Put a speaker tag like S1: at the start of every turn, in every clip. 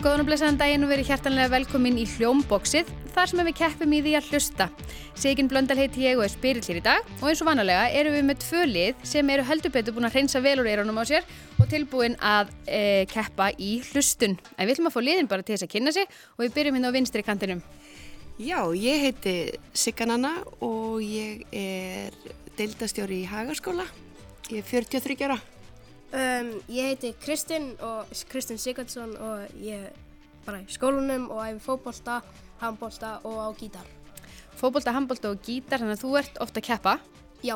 S1: Góðan og blessaðan daginn og verið hjertanlega velkomin í hljómboksið, þar sem við keppum í því að hlusta. Sigin Blöndal heiti ég og er spyrill hér í dag og eins og vanalega erum við með tvö lið sem eru heldur betur búin að hreinsa vel úr eyrunum á sér og tilbúin að e, keppa í hlustun. En við ætlum að fá liðin bara til þess að kynna sig og við byrjum hérna á vinstri kantinum.
S2: Já, ég heiti Siggananna og ég er deildastjóri í Hagaskóla. Ég er 43 ára.
S3: Um, ég heiti Kristinn og Kristinn Sigurdsson og ég er bara í skólanum og æfi fótbolta, handbolta og á gítar.
S1: Fóbolta, handbolta og gítar, þannig að þú ert ofta að keppa.
S3: Já,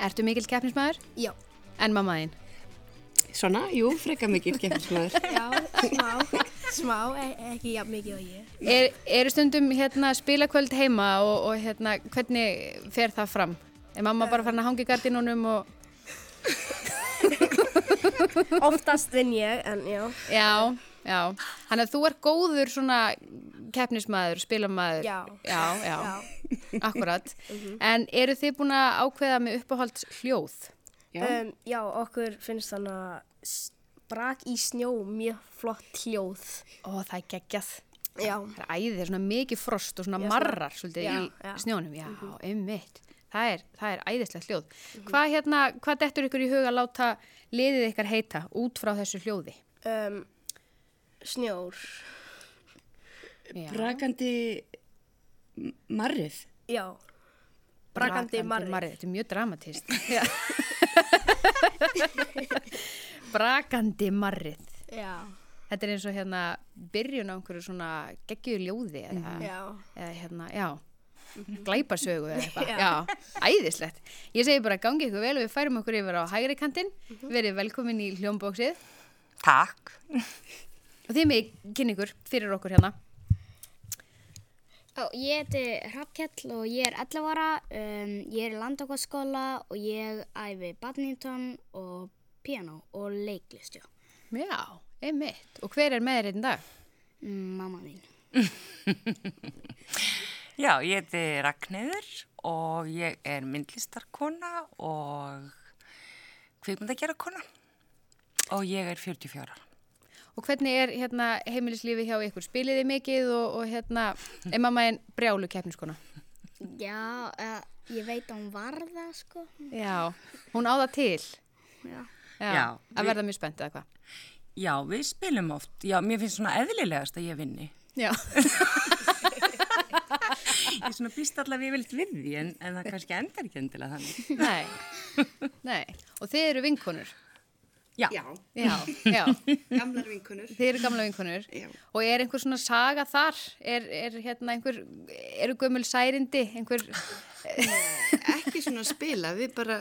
S1: Ertu mikill keppnismæður?
S3: já,
S1: En mammaðinn?
S2: Svona, jú, freka mikil keppnismæður.
S3: já, smá, smá, e ekki jafn mikið og ég.
S1: Er, eru stundum hérna spilakvöld heima og, og hérna, hvernig fer það fram? Er mamma bara farin að hanga í gardinunum og
S3: Oftast vinn ég, en já.
S1: já, já. Þannig að þú er góður svona keppnismæður, spilamaður.
S3: Já.
S1: Já, já, Mhm. akkurat. En eru þið búin að ákveða með uppáhalds hljóð?
S2: Já,
S3: Um, já, okkur finnst þannig að brak í snjó mjög flott hljóð.
S1: Ó, það er geggjað.
S3: Já,
S1: Það er æðið, það er svona mikið frost og svona
S3: Já, svona-
S1: marrar svolítið
S3: Já,
S1: í
S3: já. Mhm.
S1: snjónum. Já, einmitt. Það er, það er æðislegt hljóð. Hvað hérna, hvað dettur ykkur í huga að láta liðið ykkar heita út frá þessu hljóði?
S3: um, snjór,
S1: Já.
S2: brakandi m- marrið.
S3: já, brakandi marrið.
S1: Þetta er mjög dramatist. brakandi marrið.
S3: Já,
S1: Þetta er eins og hérna byrjun á einhverju svona geggju ljóði eða,
S3: já,
S1: eða hérna, já glæpasögu eða eitthvað,
S3: Já.
S1: Mhm. já, æðislegt ég segi bara gangi ykkur vel og við færum okkur yfir á hægri kantinn, verið velkomin í hljómbóksið
S4: Takk.
S1: og þið mig kynni ykkur fyrir okkur hérna
S5: Já, ég heiti Hrafkell og ég er 11 ára, um, ég er í landokaskóla og ég æfi badminton og piano og leiklist, já.
S1: já, einmitt, og hver er með þér einn dag?
S5: Mm, Mamma mín.
S4: Já, ég heiti Ragnhildur og ég er myndlistarkona og kvikmyndagerakona og ég er 44 ára.
S1: og hvernig er hérna heimilislífi hjá ykkur, spilið þið mikið og, og hérna, er mamma einn brjálu keppniskona?
S5: Já, uh, ég veit að hún var það, sko.
S1: Já, hún á það til
S5: Já.
S1: já,
S4: Já,
S1: að
S4: við-
S1: verða mjög spennt eða hvað
S4: Já, við spilum oft. Já, mér finnst svona eðlilegast að ég vinni.
S1: já,
S4: Ég svona býst allavega ég vilt við því en, en það kannski endar ekki endilega þannig.
S1: nei nei, og þið eru vinkonur
S4: Já,
S2: Já,
S1: já, já
S2: gamlar vinkunur.
S1: Þið eru gamla vinkunur
S2: Já.
S1: og er einhver svona saga þar? Er, er hérna einhver, eru gömul særindi? Einhver,
S2: Ekki svona spila, við bara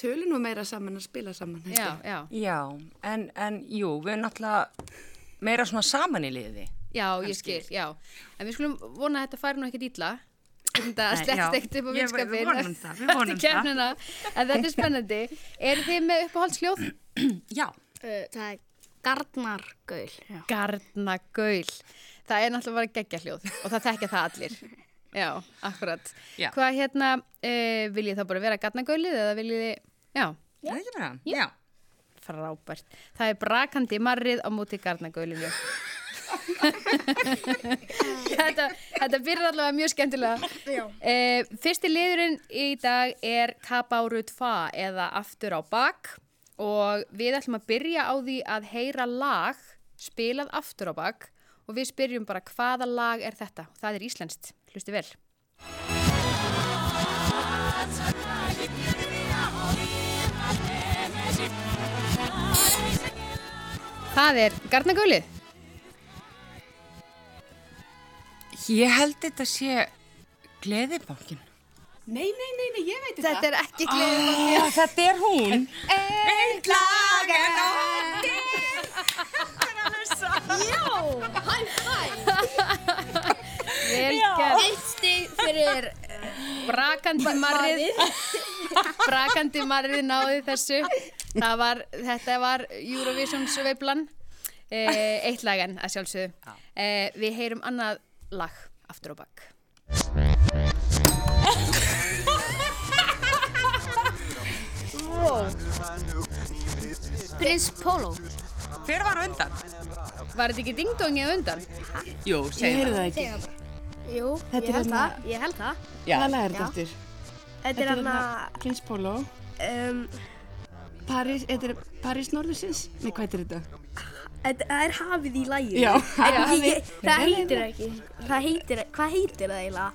S2: tölum nú meira saman að spila saman. held
S1: já,
S2: ég.
S1: já,
S4: já en, en jú, við erum náttúrulega meira svona saman í liði.
S1: já, ég skil, já. En við skulum vona að þetta fari nú ekkert illa. Þetta
S4: Nei, já.
S1: sleppst ekkert upp á
S4: Ég- við
S1: vinskapin.
S4: vonum það, við vonum
S1: Eftir keppnina, en þetta er spennandi. Eru þið með uppáhaldsljóð?
S4: Já,
S5: Uh, það er gardnargaul, já.
S1: Garnagaul. Það er náttúrulega bara geggjahljóð og það þekkja það allir. Já, akkurat.
S4: Já.
S1: Hvað hérna, uh, viljið þá bara vera garnagaulið eða viljið þið, já.
S4: það er ekki bara. Já.
S1: Frábært. Það er brakandi marrið á móti garnagaulinu. þetta, þetta byrjar allavega mjög skemmtilega. Uh, fyrsti liðurinn í dag er kabáru tva eða aftur á bak og við ætlum að byrja á því að heyra lag spilað aftur á bak og við spyrjum bara hvaða lag er þetta. Það er íslenskt. Hlusti vel. Það er garnagaulið.
S4: Ég held þetta sé gleðibankin.
S2: Nei, nei, nei, nei, ég veit þetta.
S1: Þetta er ekki gleðið.
S4: Já, þetta er hún. Einn lag en ótt.
S1: Vel gert.
S5: Eitt stig fyrir... eh,
S1: Brakandi marrið Brakandi marrið náði þessu Það var, þetta var Eurovision sveiflan eh, Eitt lag en að sjálfsögðu eh, Við heyrum annað lag aftur á bakk
S5: Prins Pólo.
S4: Hver var á undan?
S1: Var þetta ekki dingdóngið undan?
S6: Jú,
S2: Ég
S6: segir
S2: heyrði
S6: það.
S2: það ekki.
S3: Jú,
S2: Þetta
S3: ég
S2: er
S3: held
S2: hérna-
S3: það, ég held það.
S6: Já,
S2: Hvað lagar
S3: Já.
S2: þetta hérna- eftir?
S3: Þetta er hann að,
S2: Prins Póló.
S3: um,
S2: París, þetta er París Norðursins? Nei, hvað er þetta?
S3: þetta það er hafið í læginu.
S2: Já.
S3: En ég,
S2: hafið.
S3: ég, það heitir ekki, það heitir, hvað heitir það eiginlega?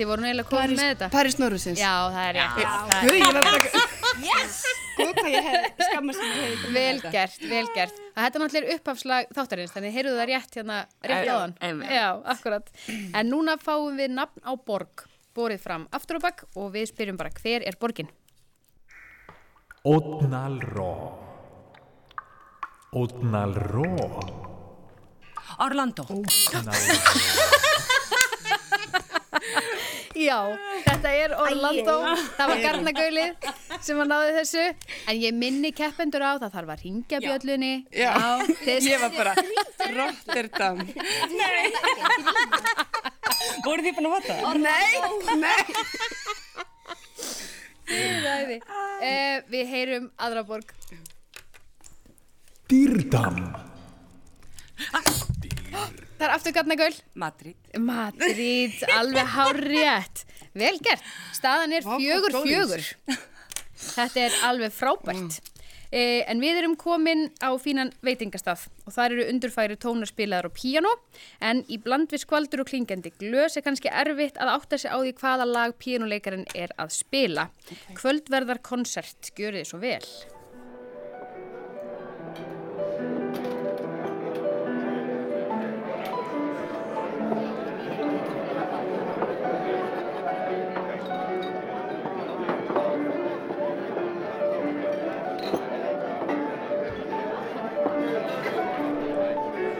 S1: Þið voru nú eiginlega komið með þetta.
S2: París Norðursins.
S1: Já, það er rétt.
S2: Guð, ég var bara... Yes! Guð, hvað ég hef skammast mér hefði. komið
S1: Vel
S2: með þetta.
S1: gert, vel gert. Það þetta náttúrulega er upphafslag þáttarins, þannig heyrðu það rétt hérna, rétt
S4: Já,
S1: áðan.
S4: einmitt.
S1: Já, akkurat. En núna fáum við nafn á borg, borið fram aftur á bakk og við spyrjum bara hver er borgin?
S7: Otnalró Otnalró
S4: Orlando.
S7: Otnalró
S1: Já, þetta er Orlando, það var Garnagaulið sem var náðið þessu. En ég minni keppendur á það þarf að ringja bjöllunni.
S2: Já.
S1: þess,
S2: Ég var bara Rotterdam.
S6: Voruð þið búin að fatta? það?
S1: uh, við heyrum aðra borg.
S7: Dýrdam
S1: Það er aftur Garnagaul.
S4: Madrid.
S1: Madrid, alveg hárétt Vel gert, staðan er
S2: Vá, hvað
S1: fjögur
S2: góður.
S1: fjögur Þetta er alveg frábært
S2: Mm.
S1: eh, En við erum komin á fínan veitingastað og þar eru undurfæri tónarspilaðar og píano en í bland við skvaldur og klingjandi glös er kannski erfitt að átta sig á því hvaða lag píanuleikarinn er að spila Kvöldverðar konsert, gjörið þið svo vel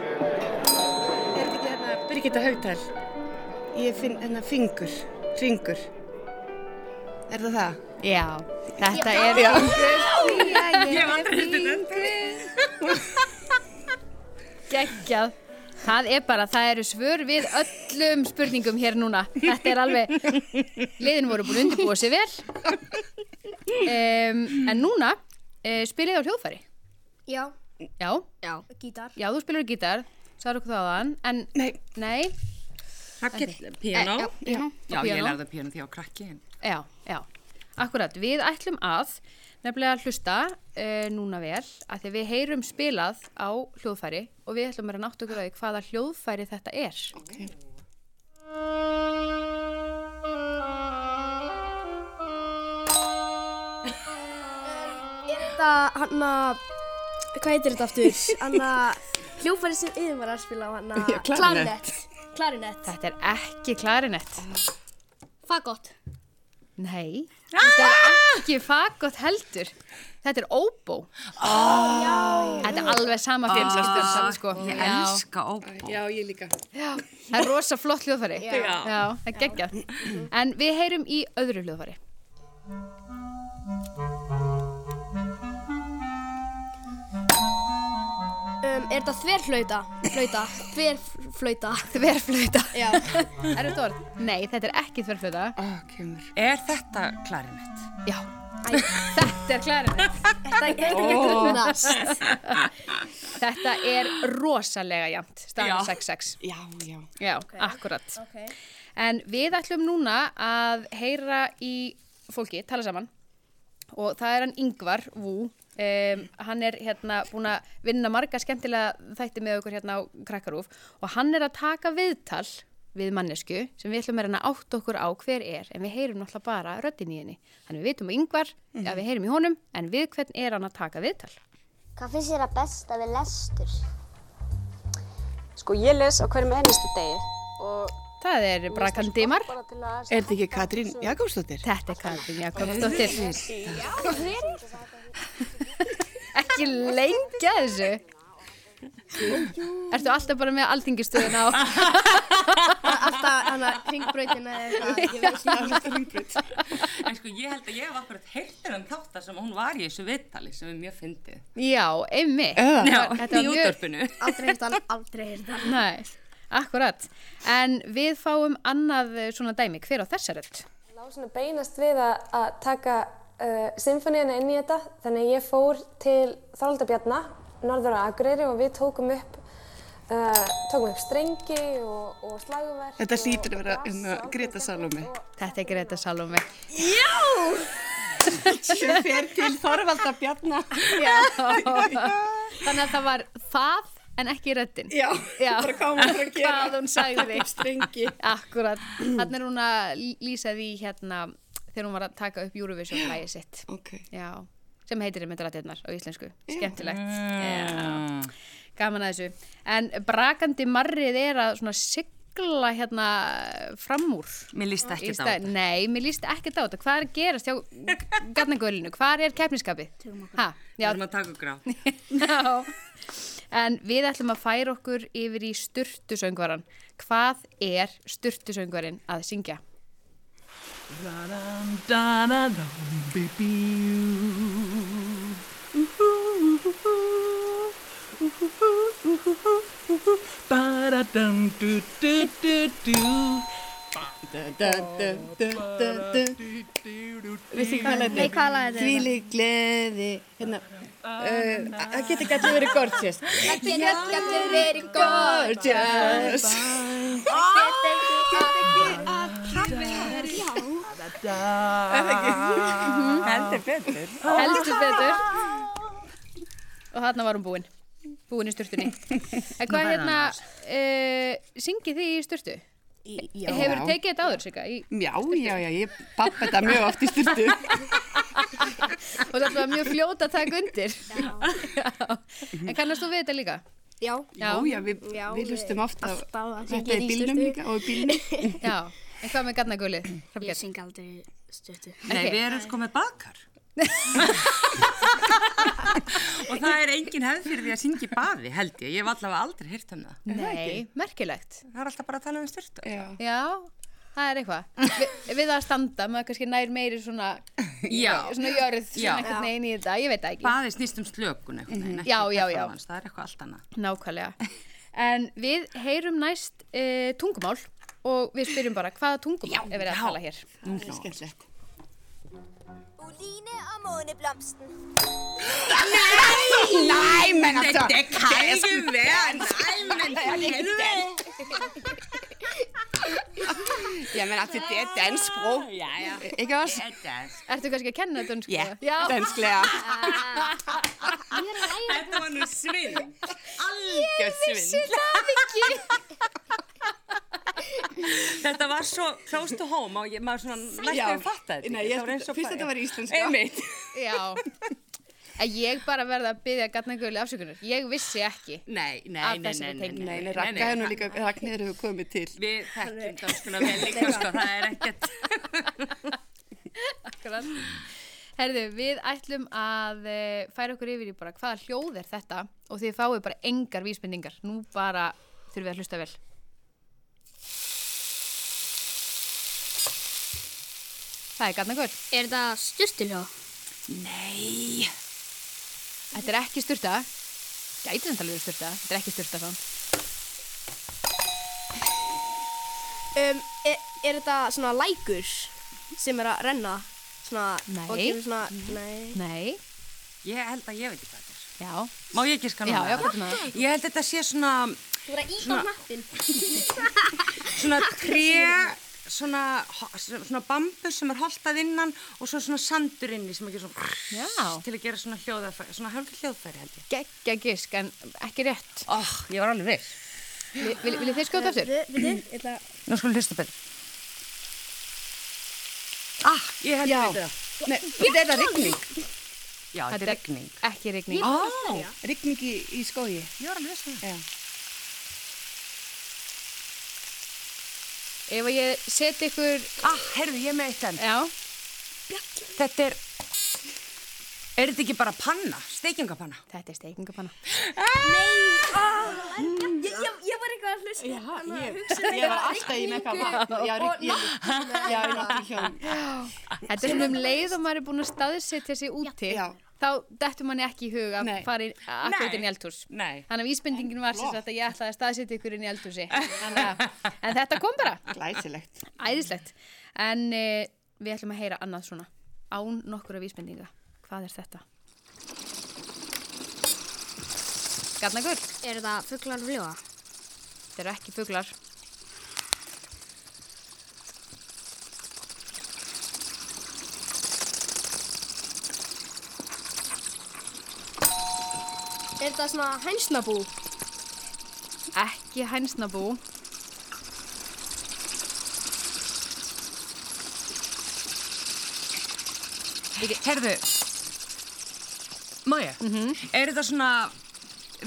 S2: Er þetta ekki hérna Birgitta Haugdal? Ég finn hérna fingur, ringur. Er það það?
S1: Já, þetta er
S2: Já.
S1: geggjað. Það er bara, það eru svör við öllum spurningum hér núna. Þetta er alveg, liðin voru búin að undirbúa sér vel. Um, en núna uh, spilið á hljóðfæri.
S3: Já,
S1: Já,
S5: Já.
S3: gítar.
S1: já, þú spilur á gítar, sagður okkur þaðan, en
S2: Nei,
S1: nei, Eh,
S6: Hagkell, piano.
S5: Já, já.
S4: Já, ég
S1: píanó.
S4: lærði á píanó því á krakki. en-
S1: Já, já, akkurat, við ætlum að nefnilega að hlusta uh, núna vel að því við heyrum spilað á hljóðfæri og við ætlum að vera nátt okkur á því hvaða hljóðfæri þetta er.
S2: ok.
S3: Er þetta hann að, hvað heitir þetta aftur? Hann að hljófæri sem yður var að spila á hann að...
S2: Já, klarinett.
S3: Klarinett.
S1: Þetta er ekki klarinett.
S5: Fagott.
S1: Nei, þetta er ekki fagott heldur. Þetta er óbó. Þetta er alveg sama fjölskyldur, ah, sko.
S4: Ég
S1: Já.
S4: elska óbó.
S2: Já, ég líka.
S1: Það er rosa flott hljóðfæri. Já. það er geggjað. En við heyrum í öðru hljóðfæri.
S3: Um, er þetta þverflauta? Flauta. Þverflauta.
S1: Þverflöta.
S3: Já.
S1: Er þetta orð? Nei, þetta er ekki þverflöta.
S2: Ó, kemur.
S4: Er þetta klarinett?
S1: Já. Þetta er klarinett.
S3: Þetta er ekki að grunnast.
S1: Þetta er rosalega jæmt, staðan er 6-6.
S2: Já, já.
S1: Já, akkurat.
S3: Okay.
S1: En við ætlum núna að heyra í fólki, tala saman og það er hann Yngvar Vú. Um, hann er hérna búin að vinna marga skemmtilega þætti með okkur hérna á Krakkarúf og hann er að taka viðtal við mannesku sem við ætlum að reyna að átta okkur á hver er en við heyrum náttúrulega bara röddin í henni. Þannig við vitum að Yngvar, mm við heyrum í honum en við hvern er hann að taka viðtal?
S8: Hvað finnst þér að besta við lestur?
S9: Sko ég les á hverjum einasta degi og
S1: Það er Brakandimar.
S9: bara til að
S2: Er þetta ekki Katrín Jakobsdóttir?
S1: Þetta er Katrín Jakobsdóttir. Ekki lengja þessu. Ertu alltaf bara með alþingistöðuna á?
S3: Alltaf hann að ringbrautina eða eitthvað. Ég veit ekki.
S4: En sko ég held að ég hef akkurat heyrtir um þáttar sem hún var í þessu viðtali sem er mjög fyndið.
S1: Já, einmi.
S2: Já.
S4: Já,
S1: þetta var
S4: í
S1: mjög-
S4: útdorfinu.
S3: Aldrei hefði hann, aldrei hefði hann.
S1: Nei, akkurat. En við fáum annað eh, svona dæmi. Hver á þessa rödd?
S9: lása að beinast við að, að taka uh, symfóníana inn í þetta þannig að ég fór til Þorvalda Bjarnar
S10: norður á Akureyri og við tókum upp, uh, tókum upp strengi og, og slagverk.
S2: Þetta hlýtur að vera hérna, Greta Salome.
S1: Þetta er Greta Salome.
S2: Já! Sem fer til Þorvalda Bjarnar.
S1: Já. Þannig að það var það en ekki röddinn.
S6: Já, bara hvað hún var að gera.
S1: Hvað hún sagði.
S6: Taka upp strengi.
S1: Akkurat. Þannig er hún að lý- lýsa því hérna þegar hún var að taka upp Eurovision lægi sitt.
S2: Ok.
S1: Já, sem heitir einmitt rættirnar á íslensku.
S2: Já.
S1: Skemmtilegt. Já. Gaman að þessu. En brakandi marrið er að svona sigla hérna fram úr.
S4: Mér líst
S1: Í
S4: ekki þá.
S1: stað- Nei, mér líst ekkert á þetta. Hvað er að gerast hjá gatnagölinu? Hvað er keppniskapið? Tökum okkur. Ha,
S4: Við
S1: já,
S4: erum að taka grátt.
S1: Já. En við ætlum að færa okkur yfir í styrtusöngvaran. Hvað er styrtusöngvarin að syngja?
S6: Við því hvað
S5: Nei, hvað lag er þetta?
S6: Þvílík gleði Hérna uh, Það getur gætið verið gorgeous
S3: Það getur gæti verið góð.
S6: Gorgeous
S4: Heldur betur.
S1: Heldur betur. Og þarna var hún búin. Búin í styrtunni. En hvað hérna, uh, syngið þið í styrtu?
S6: Já
S1: Hefur þið tekið þetta áður, Sigga? Í-
S2: Já, já, já, ég pappa þetta mjög oft í styrtu.
S1: Og þetta var mjög fljóta að taka undir. Já. En kannast þú við þetta líka?
S3: Já.
S2: Já, já, við,
S3: Já,
S2: við
S3: við-
S2: hlustum oft á
S3: alltaf að
S2: þetta í
S3: syngja í
S2: bílnum
S3: sturtu.
S2: líka og í bílnum.
S1: Já. En hvað með garnagölið?
S5: Ég syng aldrei stuttu.
S4: Nei, við erum sko með bakar. og það er engin hefð fyrir því að syngja í baði, held ég. Ég hef allavega aldrei hýrt um það.
S1: Nei, merkilegt.
S4: Það er alltaf bara að tala um styrtu.
S2: Já.
S1: Já, það er eitthvað. Vi, við að standa, maður kannski nær meiri svona,
S4: Já.
S1: svona jörð,
S4: Já.
S1: svona einhvern veginn í þetta, ég veit það ekki.
S4: Baði snýst um slökun eitthvað. Mm
S1: Já, já, já.
S4: Það er eitthvað allt annað.
S1: Nákvæmlega. En við heyrum næst e, tungumál og við spyrjum bara hvaða tungumál er verið að
S4: já.
S1: tala hér.
S4: Nú hlóðum.
S2: Skemmtilegt.
S9: Úlíne og móneblomsten.
S2: Æ, menn alltaf.
S4: Þetta kann ekki vera, næmen, helveg.
S2: Já, menn alltaf, þetta er dansbró.
S4: Já, já.
S2: Ekki ás?
S4: Þetta er
S1: Ertu kannski að kenna þetta önsku?
S2: Já,
S1: Já,
S2: danslega.
S4: Þetta var nú svinn. Algjör svinn. Þetta var svo close to home og ég, maður svona næstu að fatta þetta.
S2: Nei,
S4: ekki.
S2: ég
S4: var eins og
S2: fyrst
S4: bara-
S2: þetta var íslenska.
S4: Einmitt.
S1: já. En ég bara verða að byggja gatnagölu afsökunar. Ég vissi ekki.
S4: Nei, nei,
S1: Af
S4: nei,
S1: þessari
S4: nei, nei,
S1: tengingu.
S2: Nei, nei, Ragga hefur nú líka, Ragnir hefur komið til.
S4: Við þekkjum danskuna vel líka, sko, það er ekkert.
S1: Akkurat. Herðu, við ætlum að eh, færa okkur yfir í bara hvaða hljóð er þetta og þið fáið bara engar vísbendingar. Nú bara þurfum við að hlusta vel. Það er gatnagöl.
S5: Er þetta stuttiljóð?
S1: Þetta er ekki styrta. Gæti þetta alveg verið styrta. Þetta er ekki styrta samt.
S3: Um, er, er þetta svona lækur sem er að renna? Svona,
S1: Nei.
S3: Og kemur svona, nei.
S1: Nei.
S4: Ég held að ég veit ekki hvað þetta er.
S1: Já.
S4: Má ég ekki skana
S1: Já, já, hvað er það?
S4: Ég held að þetta sé svona,
S3: Þú verður að íta hnappin.
S4: svona tré, svona, ho- svona bambus sem er holtað innan og svo svona sandur inni sem ekki svona
S1: Já.
S4: til að gera svona hljóðafæri, svona hálfur hljóðfæri held ég.
S1: Geggja gisk, en ekki rétt.
S4: Ó, Ah, ég var alveg viss.
S1: Vil, vil, viljið þið skjóta aftur?
S3: Við þið, ég ætla
S4: Nú skulum hlusta betur. Ah, ég held að þetta.
S2: Nei, þetta er það rigning.
S4: Já, þetta er regning.
S1: Ekki regning.
S4: Ó,
S2: Rigning í, í skógi.
S4: ég var alveg viss með það.
S1: Ef að ég set ykkur...
S4: Ah, heyrðu, ég er með eitt enn.
S1: Já.
S4: Þetta er, er þetta ekki bara panna, steikingapanna?
S1: Þetta er steikingapanna.
S3: Ég, ég, ég var eitthvað að hlusta. Já,
S2: Ég var alltaf í með eitthvað. Já, rigning. Já, ég nátti hjón.
S1: Þetta er svona um leið og maður er búin að staðsetja sig úti,
S2: Já.
S1: þá dettur manni ekki í hug að
S2: Nei.
S1: fara inn akkurat
S4: Nei.
S1: inn í eldhús.
S4: Nei.
S1: Þannig að vísbendingin var sem sagt að ég ætlaði að staðsetja ykkur inn í eldhúsi. Þannig að, en þetta kom bara,
S2: Glæsilegt.
S1: æðislegt. En uh, við ætlum að heyra annað svona, án nokkura vísbendinga. Hvað er þetta? Garnagull.
S5: Eru það fuglar og fljóa?
S1: Þetta eru ekki fuglar.
S3: Er það svona hænsnabú?
S1: Ekki hænsnabú.
S4: Herðu, má ég? Er þetta svona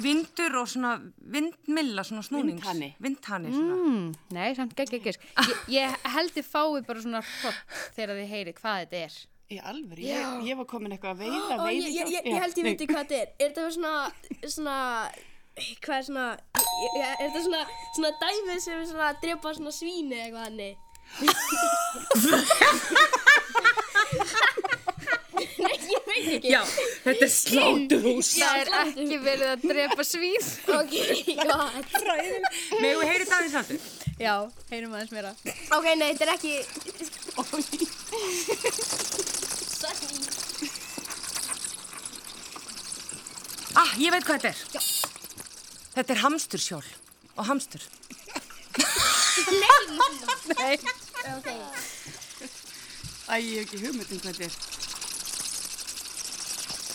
S4: vindur og svona vindmilla, svona snúnings?
S2: Vindhani.
S4: Vindhani, svona.
S1: Mm, nei, samt gegn ekki. Ég, ég held þið fáið bara svona hrótt þegar þið heyrið hvað þetta er.
S2: Í alvöru, ég, ég var komin eitthvað að veiða,
S3: Ó, ég,
S2: veiða.
S3: ég, ég, ég held ég viti hvað þetta er. Er þetta svona, svona, hvað er svona, ég- ég- er þetta svona, svona dæmið sem er svona að drepa svona svíni eða eitthvað hannig? Nei, ég veit ekki.
S4: Já, þetta er sláturhús.
S1: Það er ekki verið að drepa svín.
S3: Ok, gott.
S4: Megum við heyri dagins aftur?
S1: Já, heyrum aðeins meira.
S3: Ok, nei, þetta er ekki... Sorry.
S4: Ah, ég veit hvað þetta er. Þetta er hamstursjól og hamstur.
S2: Æ, ég hef ekki hugmynd um hvað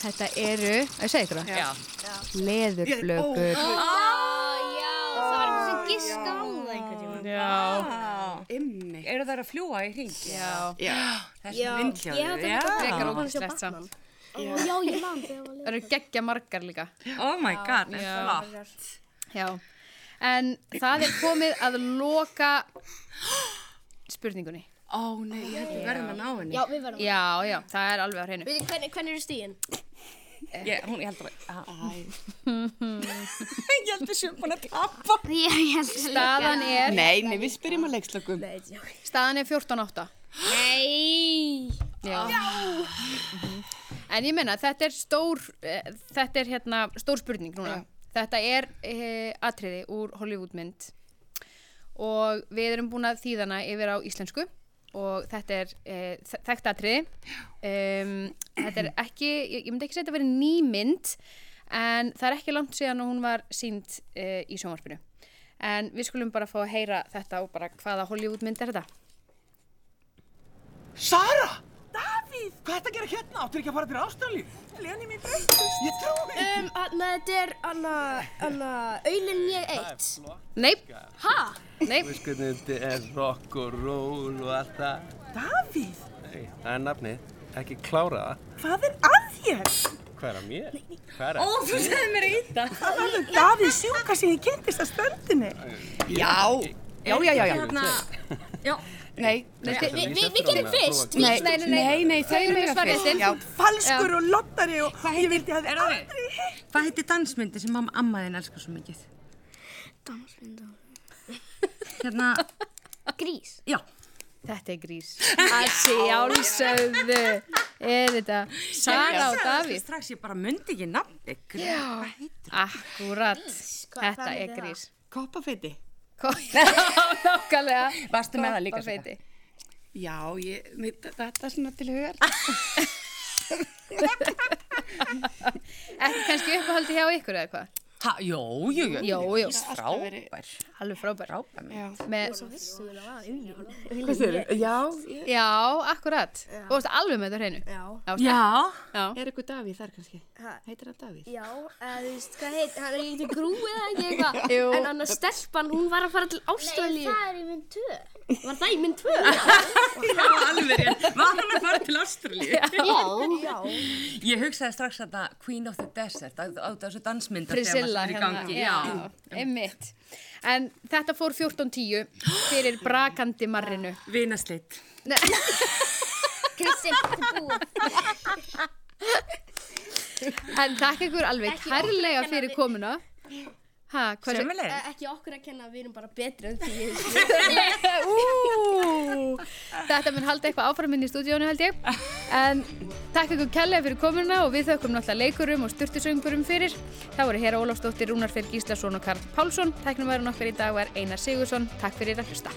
S2: þetta er.
S1: Þetta eru, að ég segja ykkur það,
S4: Já.
S1: leðurblökur.
S5: Það var eitthvað sem giska á það einhvern tíma.
S1: Já.
S2: Ymmi.
S4: Eru þær að fljúa í hring?
S1: Já.
S2: Já,
S4: Þessi
S3: ég hafði
S4: vindljóður,
S3: líka
S1: Frekar
S4: já.
S1: ógæslegt samt.
S5: Já, ég man þegar var
S1: Það eru geggja margar líka.
S4: Oh my god, er það látt.
S1: Já. En það er komið að loka spurningunni.
S4: Ó nei, ég held við verðum að ná henni.
S3: Já, við verðum.
S1: Já, já, það er alveg á hreinu.
S3: Veitir, hvernig, hvernig eru stíðin?
S4: Ég, hún, ég held að... Ég held við séum búin að tapa.
S5: leik. Já, ég held að
S1: Staðan er,
S2: Nei, nei, við spyrjum að leikslökum.
S3: Nei, já.
S1: staðan er 14.8.
S5: Nei.
S1: Já. Mhm. En ég menna, þetta er stór, eh, þetta er hérna stór spurning núna. Þetta er eh, atriði úr Hollywoodmynd og við erum búin að þýðana yfir á íslensku og þetta er eh, þe- þekkt atriði. Um, þetta er ekki, ég, ég myndi ekki segja þetta að vera nýmynd en það er ekki langt síðan og hún var sínd eh, í sjónvarpinu. En við skulum bara fá að heyra þetta og bara hvaða Hollywoodmynd er þetta.
S11: Sara! Davíð! Hvað er þetta að gera hérna? Áttu ekki að fara til Ástralíu? Leni mín breytist. Ég trúi því.
S3: Um, hann, þetta er anna, anna, auðlinn ég eitt.
S1: Nei,
S3: Ha?
S1: nei,
S11: Veist hvernig þetta er rock og roll og allt það? Davíð! Nei, það er nafnið. Ekki klára það.
S12: Hvað er að þér?
S11: Hvað er að mér? Hvað er að...
S4: Ó, þú segði mér í þetta.
S12: Það var nú Davíð sjúka sem ég kynntist að stöndinni.
S2: Já, já, já, já, já.
S4: Já,
S2: Nei,
S1: nei, nei,
S11: Við, við gerum fyrst.
S2: nei, nei, nei, nei, þau
S1: eru með
S2: mega fyrst.
S1: svarréttinn.
S2: Já,
S12: Falskur og lottari og ég vildi að þið aldrei hitt.
S4: Hvað heitir dansmyndi sem mamma amma þín elskar svo mikið?
S5: Dansmynda.
S4: Hérna,
S5: Grís.
S4: já.
S1: Þetta er grís. Að sjálfsögðu er þetta Sara og Davíð.
S4: Strax ég bara myndi ekki nafni. Já. Hvað heitir
S1: Akkurat. Þetta er grís.
S2: koppafeiti.
S1: Kom- Nákvæmlega.
S4: Varstu með það líka,
S1: Koppabeiti.
S2: Já, ég, mér, þetta er svona til hugar.
S1: Ekki kannski uppáhaldi hjá ykkur eða hvað?
S4: Ha, jó, jú, jú.
S1: Jó, jó.
S4: Frábær.
S1: Alveg frábær.
S2: Já.
S1: Með,
S12: Hvað segir þið? Já.
S1: já, akkurat. Þú varst alveg með þetta á hreinu.
S3: Já.
S4: Já.
S1: Já.
S2: Er ykkur Davíð þar kannski? Heitir hann Davíð?
S3: Já, eða þú veist, hvað heit, hann er eitthvað grúið eða ekki eitthvað.
S1: Jú.
S3: En annars stelpan, hún var að fara til Ástralíu.
S5: Það er í mynd 2.
S3: Var það í minn tvö?
S4: Já, alveg rétt. Var hann að fara til Ástralíu?
S5: Já.
S4: Ég hugsaði strax að það Queen of the Desert, á, á þessu dansmynda
S1: Priscilla
S4: er í
S1: hérna.
S4: gangi. Já.
S1: Já, einmitt. En þetta fór 14.10 fyrir brakandi marrinu.
S4: Vinaslitt.
S5: Kristinn, þetta er búið.
S1: En takk ykkur alveg kærlega fyrir komuna. Ha, hvað
S4: Sem
S3: Eh, Ekki okkur að kenna, við erum bara betri en því.
S1: Ú, Þetta mun halda eitthvað áframinn í stúdíónu held ég En takk ykkur kærlega fyrir komuna og við þökkum náttúrulega leikurum og styrtisöngurum fyrir Það voru Hera Ólafsdóttir, Rúnar Fyrir Gíslason og Karl Pálsson Tæknum varum okkar í dag var Einar Sigursson Takk fyrir að hlusta